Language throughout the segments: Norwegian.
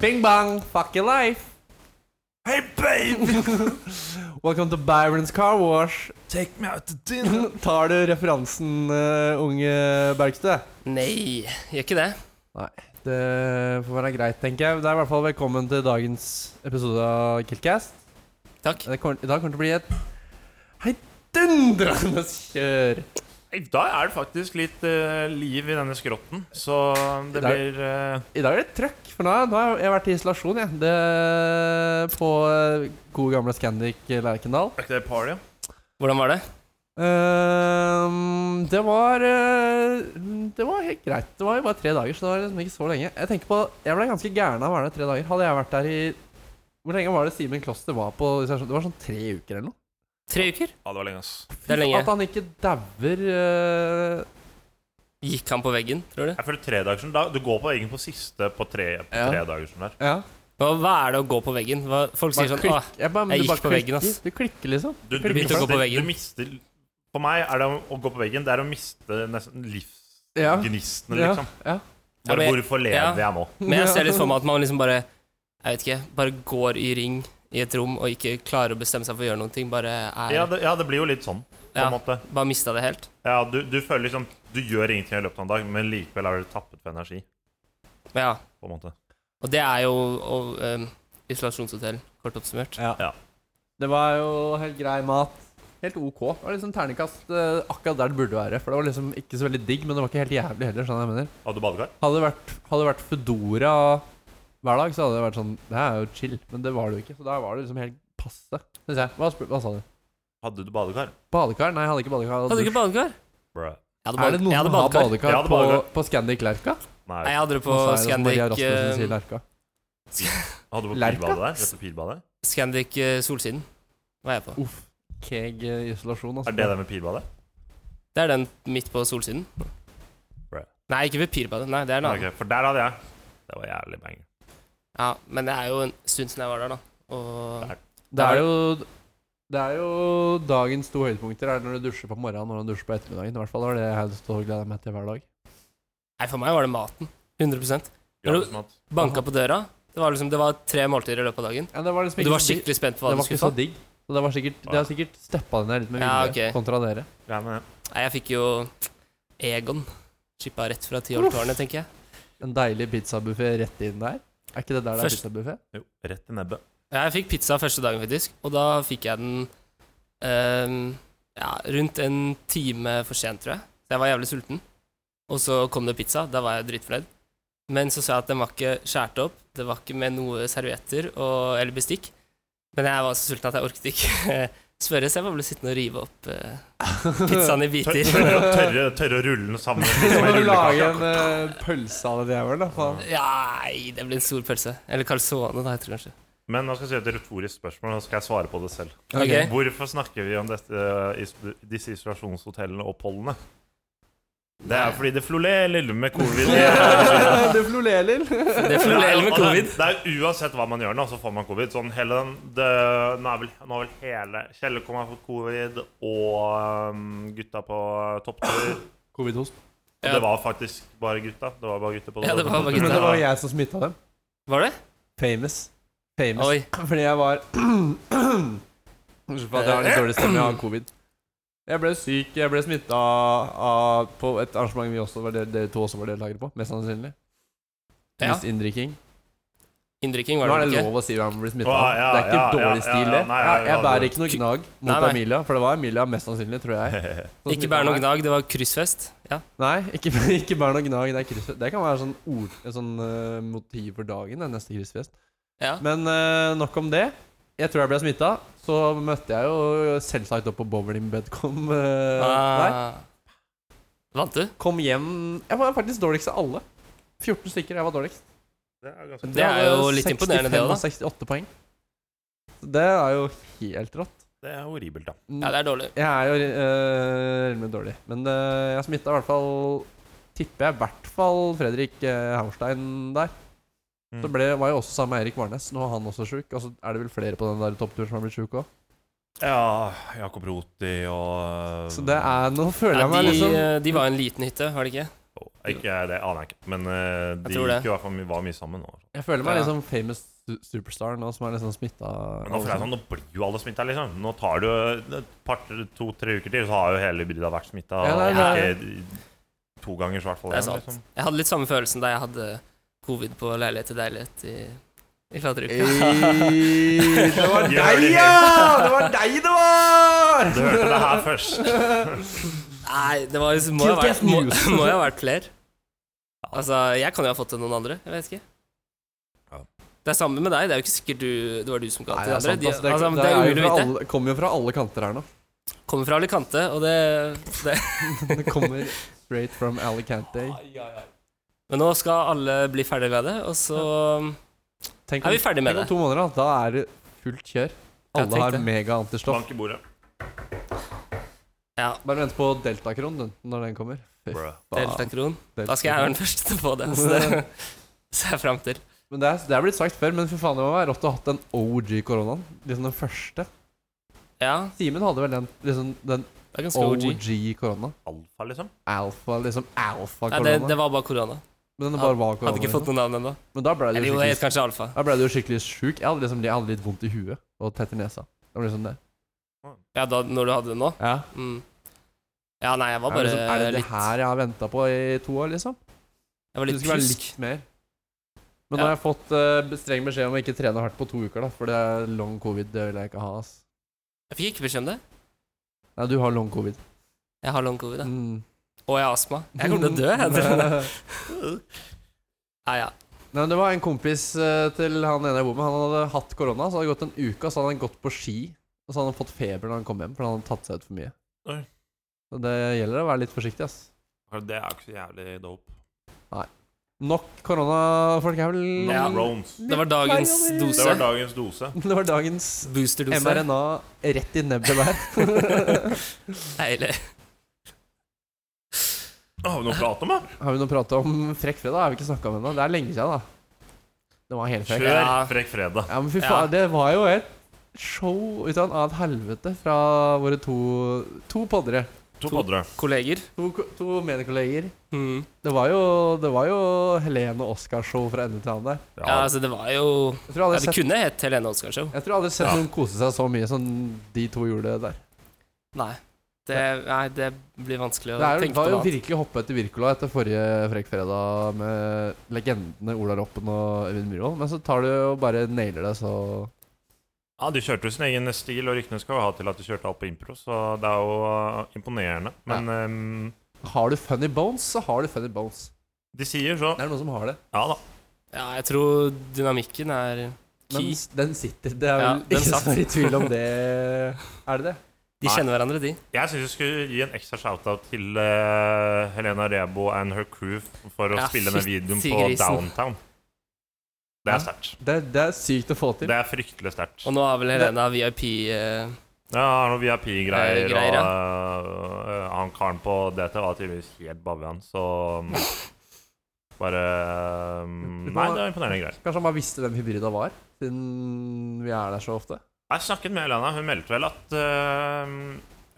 Bing bong, fuck your life. Hey, babe! Welcome to Byrons Car Wash. Take me out to dinner. Tar du referansen, eh, unge Bergstø? Nei, gjør ikke det. Nei. Det får være greit, tenker jeg. Det er i hvert fall velkommen til dagens episode av Killcast. Takk. Det kommer, I dag kommer det til å bli et heidundrende kjør. I dag er det faktisk litt eh, liv i denne skrotten, så det I dag- blir eh, I dag er det trøkk, for nå, nå har jeg vært i isolasjon, jeg. Det, på eh, gode gamle Scandic Lerkendal. Er ikke det party? Hvordan var det? Ehm, det var eh, Det var helt greit. Det var jo bare tre dager, så det var liksom ikke så lenge. Jeg tenker på, jeg ble ganske gæren av å være der tre dager. Hadde jeg vært der i Hvor lenge var det Simen Kloster var på isolasjon? Det var sånn tre uker eller noe. Tre uker? Ja, det var lenge, ass. Det er lenge. At han ikke dauer eh, Gikk han på veggen, tror du? Jeg føler tredagersen da, Du går på veggen på siste på tre, på Ja. tredagersen der. Ja. Hva, hva er det å gå på veggen? Hva, folk sier Man sånn klikker. Åh, Jeg bare- men jeg du gikk bare på veggen, klikker. ass. Du klikker, liksom. Du, du, Begynte å gå på mister- veggen. du mister For meg er det å, å gå på veggen Det er å miste nesten Ja. livsgnisten, Ja, liksom. ja. Ja, Bare men- hvorfor lever ja. jeg nå? Men jeg ser litt for meg at man liksom bare Jeg vet ikke, bare går i ring i et rom og ikke klarer å bestemme seg for å gjøre noen ting. Bare er Ja det, ja, det blir jo litt sånn, på Ja. en måte. Bare mista det helt. Ja, du, du føler liksom Du gjør ingenting i løpet av en dag, men likevel er du tappet for energi, Ja. på en måte. Og det er jo og, um, isolasjonshotell, kort oppsummert. Ja. Ja. Det var jo helt grei mat. Helt OK. Det var liksom terningkast eh, akkurat der det burde være. For det var liksom ikke så veldig digg, men det var ikke helt jævlig heller. Sånn jeg mener Hadde du badekar? Hadde det vært, hadde det vært Foodora hver dag, så hadde det vært sånn Det her er jo chill, men det var det jo ikke. Så der var det liksom helt passe, syns jeg. Hva, spør- hva sa du? Hadde du badekar? Badekar? Nei, jeg hadde ikke badekar. Hadde du ikke badekar? Bruh. Jeg er det noen som jeg har hadde badekar. badekar, Jeg hadde på, badekar. på Scandic Lerka? Nei, Nei, jeg hadde det på Nå sa jeg det som Maria Scandic, Rasmussen sier, eh, Lerka. Hadde du på Lerka? pilbadet der? Rett ved pilbadet? Scandic eh, Solsiden. Var jeg på. Uff. Keg eh, isolasjon, altså. Er det det med pilbadet? Det er den midt på Solsiden. Right. Nei, ikke ved Pirbadet. Nei, det er en annen. Ok, for der hadde jeg. Det var jævlig banger. Ja, men det er jo en stund siden jeg var der, da. Og Det er jo det er jo dagens to høydepunkter er når du dusjer på morgenen og når du dusjer på ettermiddagen. I hvert fall var det jeg stod og gleda meg til hver dag. Nei, for meg var det maten. 100 Når du- Gratis mat. Banka på døra. Det var, liksom, det var tre måltider i løpet av dagen. Ja, det var liksom Og du var skikkelig spent på hva det du var skulle ikke så få. digg. Så det var sikkert Det har sikkert steppa den der litt med vilje Ja, ok. kontra dere. Ja, men, Nei, jeg fikk jo Egon. Chippa rett fra tiårtårnet, tenker jeg. En deilig pizzabuffé rett inn der. Er ikke det der det er Først- pizzabuffé? jo, rett i nebbet. Ja, jeg fikk pizza første dagen, faktisk. Og da fikk jeg den ehm, ja, rundt en time for sent, tror jeg. Så jeg var jævlig sulten. Og så kom det pizza. Da var jeg dritfornøyd. Men så sa jeg at den var ikke skåret opp. Det var ikke med noe servietter og, eller bestikk. Men jeg var så sulten at jeg orket ikke spørre, så jeg bare ble sittende og rive opp eh, pizzaen i Tør, biter. tørre, tørre, tørre å rulle den sammen. Du Liksom, må en jo lage en rullekake. eh, pølse av den jævelen, da. Faen. Ja, Nei, det blir en stor pølse. Eller calzone, da, heter det kanskje. Men nå skal jeg si et retorisk spørsmål, og så skal jeg svare på det selv. Ok. Hvorfor snakker vi om dette, eh, is- disse isolasjonshotellene og oppholdene? Det er fordi det florerer med covid. det florerer. Det er florerer med Og det- covid. Det er jo uansett hva man gjør nå, så får man covid. Sånn hele den det, nå, er vel, nå er vel hele Kjelle kommer fått covid, og um, gutta på topptur Covid-host. Og Ja. det var faktisk bare gutta. Det var bare gutter på Ja, det var bare Men gutta. det var jeg som smitta dem. Var det? Famous. Famous. Oi. Fordi jeg var Unnskyld for at jeg har litt dårlig stemme. Jeg har covid. Jeg ble syk. Jeg ble smitta av på et arrangement vi også var del- dere to også var deltakere på. Mest sannsynlig. Ja. Mest inndrikking. Inndrikking Nå er var det det vel ikke. lov å si hvem man blir smittet Å, av. ja, Det er ikke ja, ja, dårlig stil, ja, det. ja, nei, Jeg, ja, jeg bærer ja. ikke noe gnag mot Nei, nei. Amelia, for det var Amelia mest sannsynlig, tror jeg. Som Ikke smittet bær noe meg. gnag, det var kryssfest. Ja. Nei, ikke, ikke bær noe gnag. Det, er kryssfest. det kan være sånn, ord, en sånn eh, motiv for dagen, den neste kryssfest. ja. Men eh, nok om det. Jeg tror jeg ble smitta. Så møtte jeg jo selvsagt opp på bowling bedcom eh, der. Ah. Vant du? Kom hjem Jeg var faktisk dårligst av alle. 14 stykker. Jeg var dårligst. Det er ganske Det er jo litt imponerende, det òg, da. 65 og 68 poeng. Så Det er jo helt rått. Det er horribelt, da. Ja, det er dårlig. Jeg er jo eh, rimelig dårlig, men eh, jeg smitta i hvert fall Tipper jeg i hvert fall Fredrik eh, Hammerstein der. Mm. Så ble, var jo også sammen med Eirik Varnes. Nå er han også sjuk. Og så er det vel flere på den der toppturen som har blitt sjuke òg. Ja, Jakob Roti og Så det er Nå føler Ja, jeg meg de, liksom de var en liten hytte, var det ikke? Ikke, det aner jeg ikke, men eh, de tror det. gikk jo i hvert fall my- var mye sammen. nå. Jeg føler meg Ja. litt som famous su- superstar nå, som er liksom smitta. Men nå, føler jeg sånn, nå blir jo alle smitta, liksom. Nå tar det jo et par, to-tre uker til, så har jo hele byrda vært smitta. Ja, det er to ganger, i hvert fall. Det er igjen, liksom. sant. Jeg hadde litt samme følelsen da jeg hadde covid på leilighet til leilighet i, i Eh, flatteruka. Det var Gjør deg, det. ja! Det var deg det var! Du hørte det her først. Nei, det var, liksom- må jo ha Guilty as vært, må, news. må jo ha vært flere. Altså, jeg kan jo ha fått det noen andre. Jeg vet ikke. Ja. Det er samme med deg. Det er jo ikke sikkert du, det var du som ga Nei, til det er de andre. sant. De, Altså, det, altså, det, det er er jo umulig å fra vite. alle, kommer jo fra alle kanter her nå. Kommer fra Alicante, og det, det Det kommer straight from Alicante. Men nå skal alle bli ferdig med det, og så Tenk er om, vi ferdig med tenk det. om to måneder, da. Da er det fullt kjør. Ja, tenk Alle har det. mega-antistoff. Bank i bordet. Ja, Bare vent på deltakron den, når den kommer. Fy Bro. faen, Deltakron. Da skal Deltakron. jeg være den første til å få det. Så det ser jeg fram til. Men det er, det er blitt sagt før, men for faen, det må være rått å ha hatt den OG-koronaen. Liksom den første. Ja, Simen hadde vel den, liksom, den det er ganske OG. OG-korona. Alfa, liksom. Alfa, liksom Nei, det, alfa-korona. det var bare korona. Men den Had- bare var korona. Hadde ikke fått liksom. noe navn ennå. Men da ble det Eller jo jo, det het skikkelig, kanskje Alfa. da ble det jo skikkelig sjuk. Jeg hadde liksom jeg hadde litt vondt i huet og tett i nesa. Det var liksom det. Ja, da, når du hadde det nå? Ja. Mm. Ja, nei, jeg var Er, bare det liksom, er det det litt her jeg har venta på i to år, liksom? Jeg var Det litt skulle være pjusk. litt mer. Men nå Ja. har jeg fått eh, streng beskjed om å ikke trene hardt på to uker, da. For det er long covid. Det vil jeg ikke ha, ass. Jeg fikk ikke beskjed om det. Nei, du har long covid. Jeg har long covid. da. Mm. Og jeg har astma. Jeg kommer til å dø. Jeg tror det. Nei, ja. Nei, men Det var en kompis eh, til han ene jeg bor med. Han hadde hatt korona, så hadde det gått en uke, og så hadde han gått på ski. Og så hadde han fått feber når han kom hjem, for han hadde tatt seg ut for mye. Oi. Så det gjelder å være litt forsiktig, ass. Det er jo ikke så jævlig dope. Nok korona, folk er vel No Ja. Rones. Det var dagens Det dose. var dagens dose. Det var dagens Boosterdose. mRNA rett i nebbet der. Deilig. Å, Har vi noe å prate om, da? Har vi noe å prate om Frekk fredag? Har vi ikke snakka om ennå? Det er lenge siden, da. Det var helt frekk. Kjør Ja. Frekk fredag. Ja, men fy Ja. faen, det var jo et show ut av et helvete fra våre to To poddere. To poddere. Kolleger. To, ko- to mediekolleger. Mm. Det var jo, det var jo Helene og Oscar-show fra ende til annen der. Ja, altså, det var jo Jeg tror ja, aldri Det sett, kunne hett Helene Oscar Show. jeg tror aldri sett Ja. noen kose seg så mye som de to gjorde der. Nei. Det, nei, det blir vanskelig å Det er, jo- tenke på var jo noe annet. virkelig hoppe etter Wirkola etter forrige Frekk fredag med legendene Ola Roppen og Øyvind Myhrvold, men så tar du jo bare nailer det, så Ja, Du kjørte jo sin egen stil, og ryktene skal jo ha til at du kjørte alt på impro, så det er jo eh, imponerende. Men ehm, Har du funny bones, så har du funny bones. de sier så. Det er noen som har det. Ja da. Ja, jeg tror dynamikken er Men key. s- den sitter. Det er Ja, vel den ikke satt. så i tvil om det. Er det det? De kjenner hverandre, de. Jeg syns vi skulle gi en ekstra shout-out til eh, Helena Rebo and her crew for å Ja, spille den fytti videoen på grisen. Downtown. Det Ja. er sterkt. Det, det er sykt å få til. Det er fryktelig sterkt. Og nå har vel Helena VIP eh, Ja, han har noen VIP-greier, Eh, greier, og øh, han karen på DT var tydeligvis helt bavian, så um, Bare um, Nei, det er imponerende greier. Kanskje han bare visste hvem hybrida var, siden vi er der så ofte. Jeg snakket med Helena. Hun meldte vel at øh,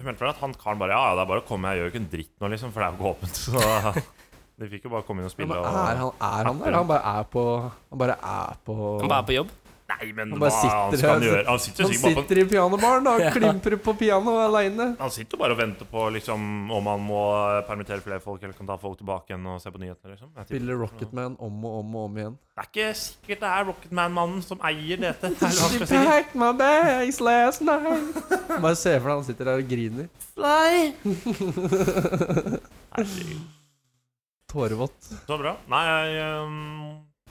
Hun meldte vel at han karen bare Ja, ja, det er bare å komme, jeg gjør jo ikke en dritt nå, liksom, for det er jo ikke åpent. Så de fikk jo bare komme inn og Ja, spille. men Og, er han, er han der? eller Han bare er på Han bare er på Han bare er på jobb. nei, men han hva bare han sitter skal han her, gjøre? Han sitter jo Han sikkert bare på sitter i pianobaren da, og Ja. klimprer på pianoet aleine. han sitter jo bare og venter på liksom, om han må permittere flere folk eller kan ta folk tilbake igjen og se på nyhetene. liksom. Jeg tipper. Spiller Rocketman om og om og om igjen. Det er ikke sikkert det er Rocketman-mannen som eier dette. Det er She vanskelig å si. packed my bags last night. Bare se for deg han sitter der og griner. Fly! Herregud. Tårevått. Så bra. Nei, ehm,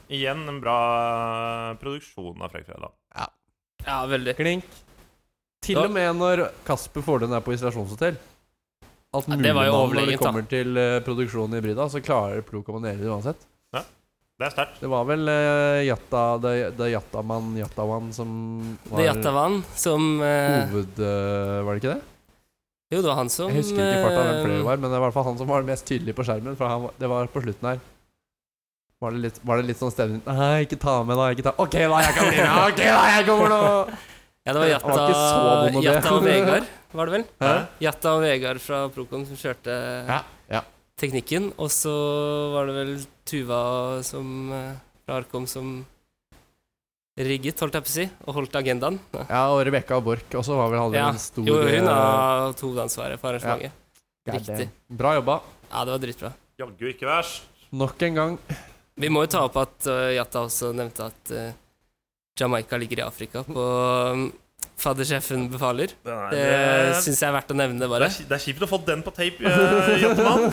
igjen en bra eh, produksjon av Frekk fredag. Ja, veldig. Klink. Til Ja. og med når Kasper Fordun er på isolasjonshotell. Alt Ja, mulig det var jo mann når det overlegent, da. kommer til eh, produksjonen i Brida, så klarer Plo å manere det uansett. Det er sterkt. Det var vel eh, Jatta, det, det Jattaman Jattawan som Det var er Jattavan som eh, hoved... eh, var det ikke det? Jo, det var han som Jeg husker ikke i farta hvem eh, flere var, men det var i hvert fall han som var mest tydelig på skjermen. For han, var- det var på slutten her. Var det litt, var det litt sånn stemning Nei, ikke ta med, da. ikke ta OK, da, jeg kommer inn. ja, Ok, da, jeg kommer nå. Ja, det var Han var ikke så vond å be. Jatta, Jatta og Vegard, var det vel? Hæ? Jatta og Vegard fra Procon som kjørte Ja, ja. teknikken. Og så var det vel Tuva som, eh, fra Arkom som rigget, holdt jeg på å si, og holdt agendaen. Ja, og Rebekka og Borch også var vel aldri Ja. en stor Jo, hun eh, har hatt hovedansvaret for arrangementet. goddamn. riktig. Bra jobba. Ja, det var dritbra. Jaggu ikke verst. Nok en gang. Vi må jo ta opp at eh, Jatta også nevnte at eh, Jamaica ligger i Afrika på um, Faddersjefen befaler. Den er, Det det, syns jeg er verdt å nevne, det, bare. er, ki- det er kjipt å få den på tape, eh, Jotman.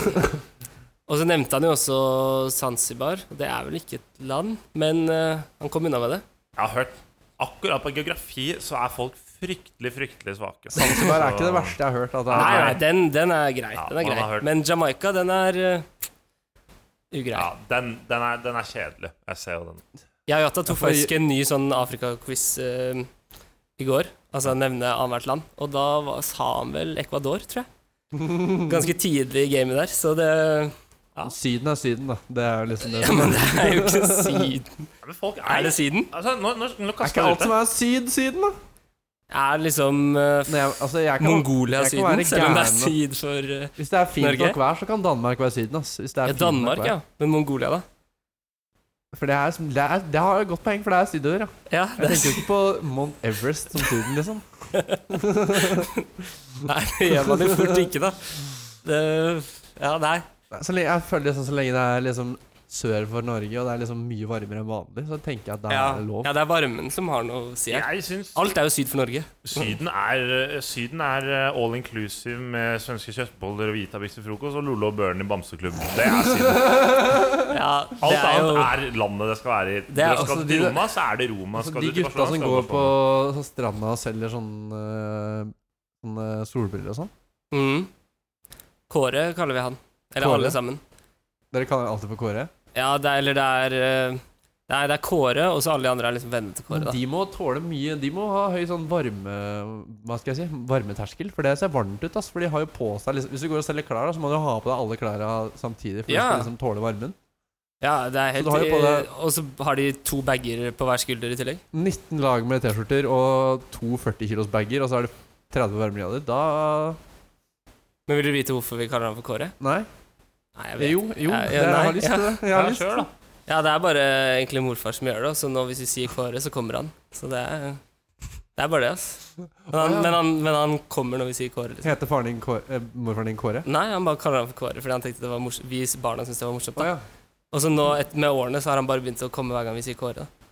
Og så nevnte han jo også Zanzibar. Det er vel ikke et land, men eh, han kom unna med det. Jeg har hørt akkurat på geografi så er folk fryktelig, fryktelig svake. Det er ikke det verste jeg har hørt. At det Nei, er. nei, den, den er grei. Ja, den er man grei. har hørt. Men Jamaica, den er eh, ugrei. Ja, den, den, er, den er kjedelig. Jeg ser jo den. Jeg og Jatta tok Ja, for- faktisk en ny sånn Afrika-quiz eh, i går. Altså nevne annethvert land. Og da var, sa han vel Ecuador, tror jeg. Ganske tidlig i gamet der, så det Ja. Syden er Syden, da. Det er jo liksom det. Ja, men det er jo ikke Syden. Ja, Men folk er, Er det Syden? altså, nå, nå, nå Er kaster ikke jeg alt ut som det. er Syd-Syden, da? Er liksom eh, Nei, jeg- altså, jeg kan, jeg kan Mongolia-Syden, være selv om det er gæren. syd for eh, Hvis det er fint Norge? nok vær, så kan Danmark være Syden. Ass. Hvis det er ja, fint nok Danmark, vær. ja. Men Mongolia, da? For det, er, som- det, er, det har jo et godt poeng, for det er sydover, ja. Ja, Jeg det tenker jo ikke på Mount Everest som Syden, liksom. nei, det gjør man jo fort ikke, da. Det, ja, nei. Nei, Så lenge, jeg føler liksom, så lenge det er liksom sør for Norge, og det er liksom mye varmere enn vanlig, så tenker jeg at det Ja, er lov. ja, det er varmen som har noe å si her. Jeg syns Alt er jo syd for Norge. Syden er, eh, syden er eh, all inclusive med svenske kjøttboller og hvitabix til frokost og Lollo og Børn i bamseklubb. Det er Syden. Ja, det Alt er jo annet er landet det skal være i. er Dere skal også til altså de- Roma, så er det Roma. Altså, Skal de du til gutta Barcelona, som skal går du til på Barcelona. så stranda og selger sånn eh, sånne solbriller og sånn mm. Kåre kaller vi han. Eller Kåre? alle sammen. Dere kaller det alltid for Kåre. Ja, det er, eller det er eh, Nei, det er Kåre, og så alle de andre er liksom vennene til Men Kåre, da. de må tåle mye De må ha høy sånn varme Hva skal jeg si? Varmeterskel. For det ser varmt ut. Ass, for de har jo på seg liksom, Hvis du går og selger klær, da, så må du ha på deg alle klærne samtidig. For Ja. du skal liksom tåle varmen. Ja, det er helt Så du har jo på deg- Og så har de to bager på hver skulder i tillegg. 19 lag med T-skjorter og to 40 kilos bager, og så er det 30 varmegrader. Da Men vil du vite hvorfor vi kaller han for Kåre? Nei. Nei, jeg vet Jo, jo. Ja, ja, jeg nei, har lyst til det. Jeg Ja, har lyst. kjør, da. Ja, det er bare egentlig morfar som gjør det, så nå hvis vi sier Kåre, så kommer han. Så det er, det er bare det, altså. Men han, men, han, men han kommer når vi sier Kåre, liksom. Heter faren din Kåre, eh, morfaren din Kåre? Nei, han bare kaller han for Kåre, fordi han tenkte det var mors vi barna syntes det var morsomt. Å da. ja. Og så nå, et, med årene, så har han bare begynt å komme hver gang vi sier Kåre. da.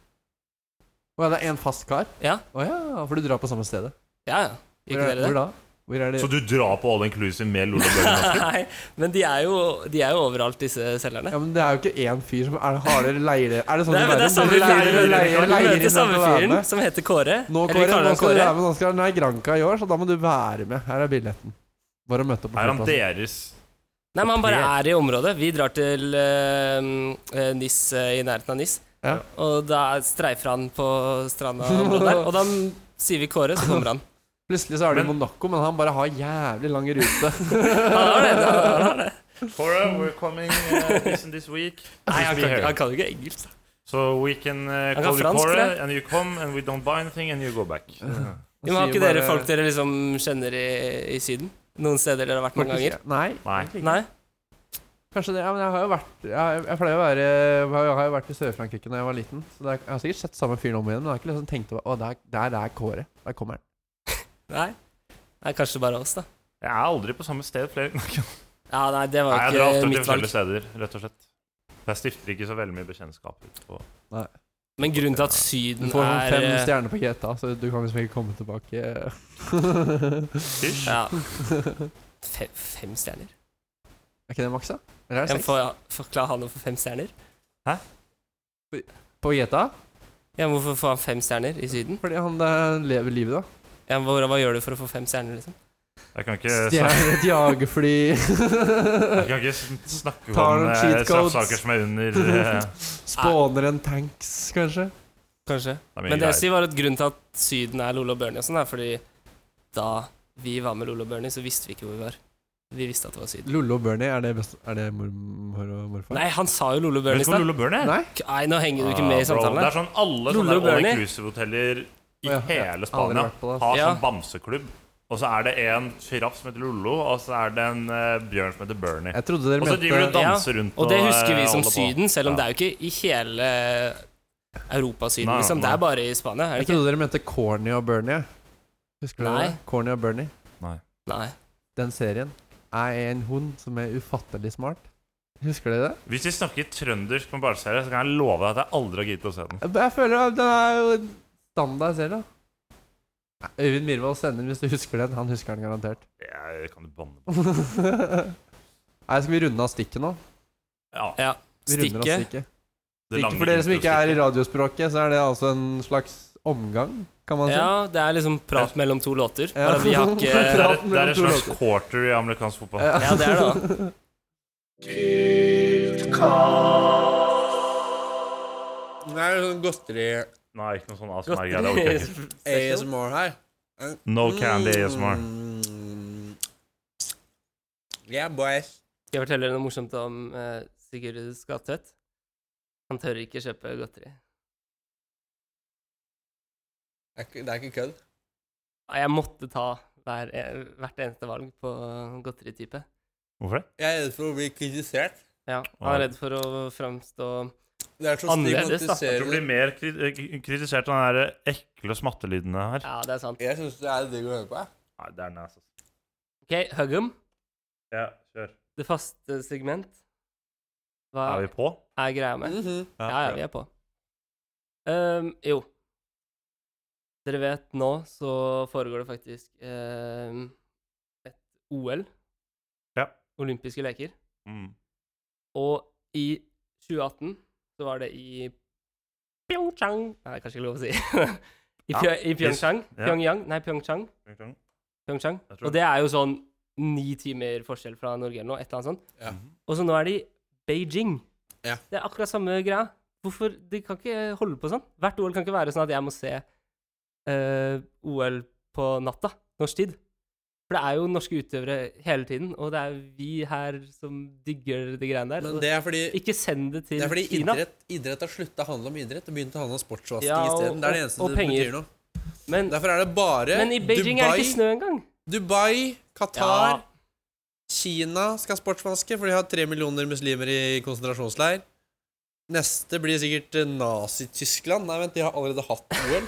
Å ja, det er én fast kar? Ja. Å ja, for du drar på samme stedet. Ja, ja. Hvor, Gjør ikke er- dere hvor det? da? Hvor er det? Så du drar på all inclusive med Lollo og Børn? Nei, men de er, jo, de er jo overalt, disse selgerne. Ja, men det er jo ikke én fyr som er, har dere leier Er det sånn Det er, men det er samme leier- fyren, leier- leier- du møter samme fyren med? som heter Kåre. Nå, Eller vi Kåre, nå kaller han skal du Kåre. være med. Nå skal Nei, Granka i år, så da må du være med. Her er billetten. Bare å møte opp. på Er han flyplassen. deres Nei, men han bare Opplegg. er i området. Vi drar til eh, Nis, eh, i nærheten av Nis. Ja. Og da streifer han på stranda området der. Og da sier vi Kåre, så kommer han. Plutselig så er du i Men- Monaco, men han bare har jævlig lang rute. Han har det, han har det. Cora, we're coming uh, this and this week. Nei, han Please be kan, here. han kan jo ikke engelsk. So we can uh, kan call you fransk, tror Cora, jeg. and you come, and we don't buy anything, and you go back. Jo, men Har ikke Sier dere bare- folk dere liksom kjenner i, i Syden? Noen steder dere har vært noen ganger? Nei. Nei. Nei? Kanskje det. Ja, men jeg har jo vært Jeg, jeg pleier å være Jeg har jo vært i Sør-Frankrike da jeg var liten. Så det er, jeg har sikkert sett samme fyren om igjen, men jeg har ikke liksom tenkt over Å, der, der er Kåre. Der kommer han. Nei? Nei, kanskje bare oss, da. Jeg er aldri på samme sted flere ganger. Ja, nei, det Nei, var jeg drar ikke ofte til mitt valg. forskjellige steder, rett og slett. Jeg stifter ikke så veldig mye bekjentskaper. på- Men grunnen til at Du Syden får sånn er fem eh, stjerner på GTA, så du kan liksom ikke komme tilbake. Hysj. ja. fem, fem stjerner? Er ikke det maks, da? Eller er det Jeg seks? får forklare han for fem stjerner. På GTA? Ja, men Hvorfor får han fem stjerner i Syden? Fordi han eh, lever livet, da. Ja, men hva, hva gjør du for å få fem stjerner, liksom? Jeg kan ikke, snak- Stjeler et jagerfly. jeg kan ikke sn- snakke Tar om noen eh, cheat codes. straffesaker som er under eh, Spåner en tanks, kanskje. Kanskje? det er mye Men det jeg greier. sier var at grunnen til at Syden er Lolo og Bernie og sånn, er fordi da vi var med Lolo og Bernie, så visste vi ikke hvor vi var. Vi visste at det var Syden. Lollo og Bernie, er det, best, er det mor, mor og morfar? Nei, han sa jo Lolo og Vet Bernie i du hvor stad. Lollo Børn er? Nei? Nei, nå henger du ikke med i Ah, bro, samtalen. Det er her. sånn alle Lollo sånne Bernie. all inclusive-hoteller i Å ja, ja. hele Aldri Spania vært på det, har Ja. sånn bamseklubb. Og så er det en sjiraff som heter Lollo, og så er det en eh, bjørn som heter Bernie. Jeg trodde dere Og så driver du og mente danser rundt Og det eh, husker vi som holder på. Syden, selv om Ja. det er jo ikke i hele Europa-Syden, Nei, liksom. Det nei. er bare i Spania, er Jeg det ikke? trodde dere mente Corny og Bernie. Husker dere Nei. det? Corny og Bernie. Nei. Den serien er en hund som er ufattelig smart. Husker dere det? Hvis vi snakker trøndersk på en barneserie, så kan jeg love deg at jeg aldri har giddet å se den. Jeg- Jeg føler at den er jo en standard serie. da. Nei, Øyvind Mirvold sender den hvis du husker den. Han husker den garantert. Jeg kan du banne på. Nei, Skal vi runde av stikket nå? Ja, Ja. Vi runder av Stikket. stikket. det lange Stikket, For dere som ikke er i introstykket. radiospråket, så er det altså en slags omgang, kan man si. Ja, det er liksom prat mellom to låter. Ja. Bare vi har Det ikke er, Praten det er mellom en to slags låter. quarter i amerikansk fotball. Ja. Ja, det er det, da. Det er sånn godteri Nei, ikke noe sånn ASMR-greie. Det orker jeg ikke. ASMR her. Mm. No Oh, candy ASMR. Yeah, boys. Skal jeg fortelle dere noe morsomt om eh, Sigurd Skatvedt? Han tør ikke kjøpe godteri. Det er ikke- det er ikke kødd. Nei, Jeg måtte ta hver, eh, hvert eneste valg på godteritype. Hvorfor det? Jeg er redd for å bli kritisert. Ja, han er redd for å framstå Det er så Annerledes, da. Jeg tror det blir mer kri eh, kritisert av den der ekle smattelydene her. Ja, det er sant. Jeg syns det er digg å høre på. jeg. Nei, det er næst. OK, Huggum, Ja, kjør. det faste segment. Hva Er vi er, på? greia med? Mhm. Ja, ja, vi er på. Ehm, jo. Dere vet, nå så foregår det faktisk ehm, et OL. Ja. Olympiske leker. Mm. Og i 2018 så var det i Pyeongchang Nei, kanskje ikke lov å si. I, Ja, Pyo i Pyeongchang. ja. Pyongyang. Nei, Pyeongchang. Pyeongchang. Jeg tror Og det er jo sånn ni timer forskjell fra Norge eller noe. Et eller annet sånt. Ja. Og så nå er de Beijing. Ja. Det er akkurat samme greia. Hvorfor, De kan ikke holde på sånn. Hvert OL kan ikke være sånn at jeg må se eh, OL på natta, norsk tid. For det er jo norske utøvere hele tiden, og det er vi her som digger de greiene der. Men Og det er fordi, ikke send det til det er fordi Kina. idrett, idrett har slutta å handle om idrett og begynt å handle om sportsvasking Ja, og- isteden. Det er det eneste og det penger. betyr noe. Men, Derfor er det bare men i Beijing er det ikke snø engang. Dubai, Qatar, Ja, Kina skal sportsvaske, for de har tre millioner muslimer i konsentrasjonsleir. Neste blir sikkert eh, Nazi-Tyskland. Nei, vent, de har allerede hatt OL.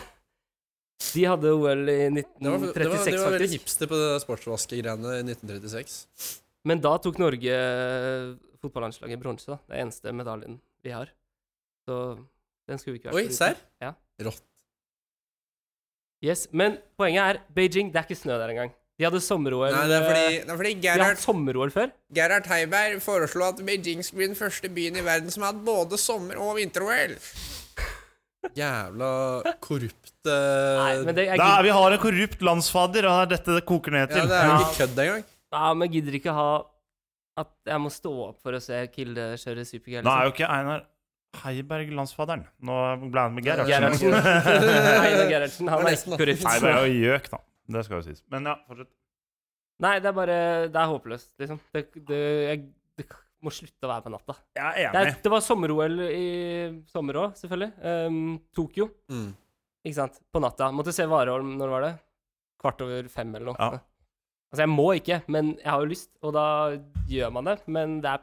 de hadde OL i Det var, det var, 1936, det var veldig faktisk. hipster på det sportsvaskegreiene i 1936. Men da tok Norge eh, fotballandslaget bronse, da. Det er eneste medaljen vi har. Så den skulle vi ikke vært Oi, foruten. serr? Ja. Rått. Yes, Men poenget er, Beijing, det er ikke snø der engang. De hadde sommer-OL Nei, det er eh, fordi, det er Eh, fordi De har hatt Gerhard, sommer-OL før. Gerhard Heiberg foreslo at Beijing skulle bli den første byen i verden som har hatt både sommer- og vinter-OL. Jævla korrupte Nei, men det, jeg Da, gidder, vi har en korrupt landsfader, og det er dette det koker ned Ja, til. det er jo ikke kødd engang. ja, men jeg gidder ikke ha at jeg må stå opp for å se Kilde kjøre supergirl. liksom. Nå er jo ikke Einar Heiberg landsfaderen. Nå ble han med Gerhardsen. Gerhardsen. Einar Gerhardsen, han Det var er nesten, da. ikke korrupt. Heiberg er jo gjøk, da. Det skal jo sies. Men ja, fortsett. Nei, det er bare Det er håpløst, liksom. Det, det, jeg, det må slutte å være på natta. Jeg er Det, enig. er, det var sommer-OL i sommer òg, selvfølgelig. Ehm, Tokyo, Mm. ikke sant. På natta. Måtte se Warholm, når var det? Kvart over fem eller noe. Ja. Altså, jeg må ikke, men jeg har jo lyst, og da gjør man det. Men det er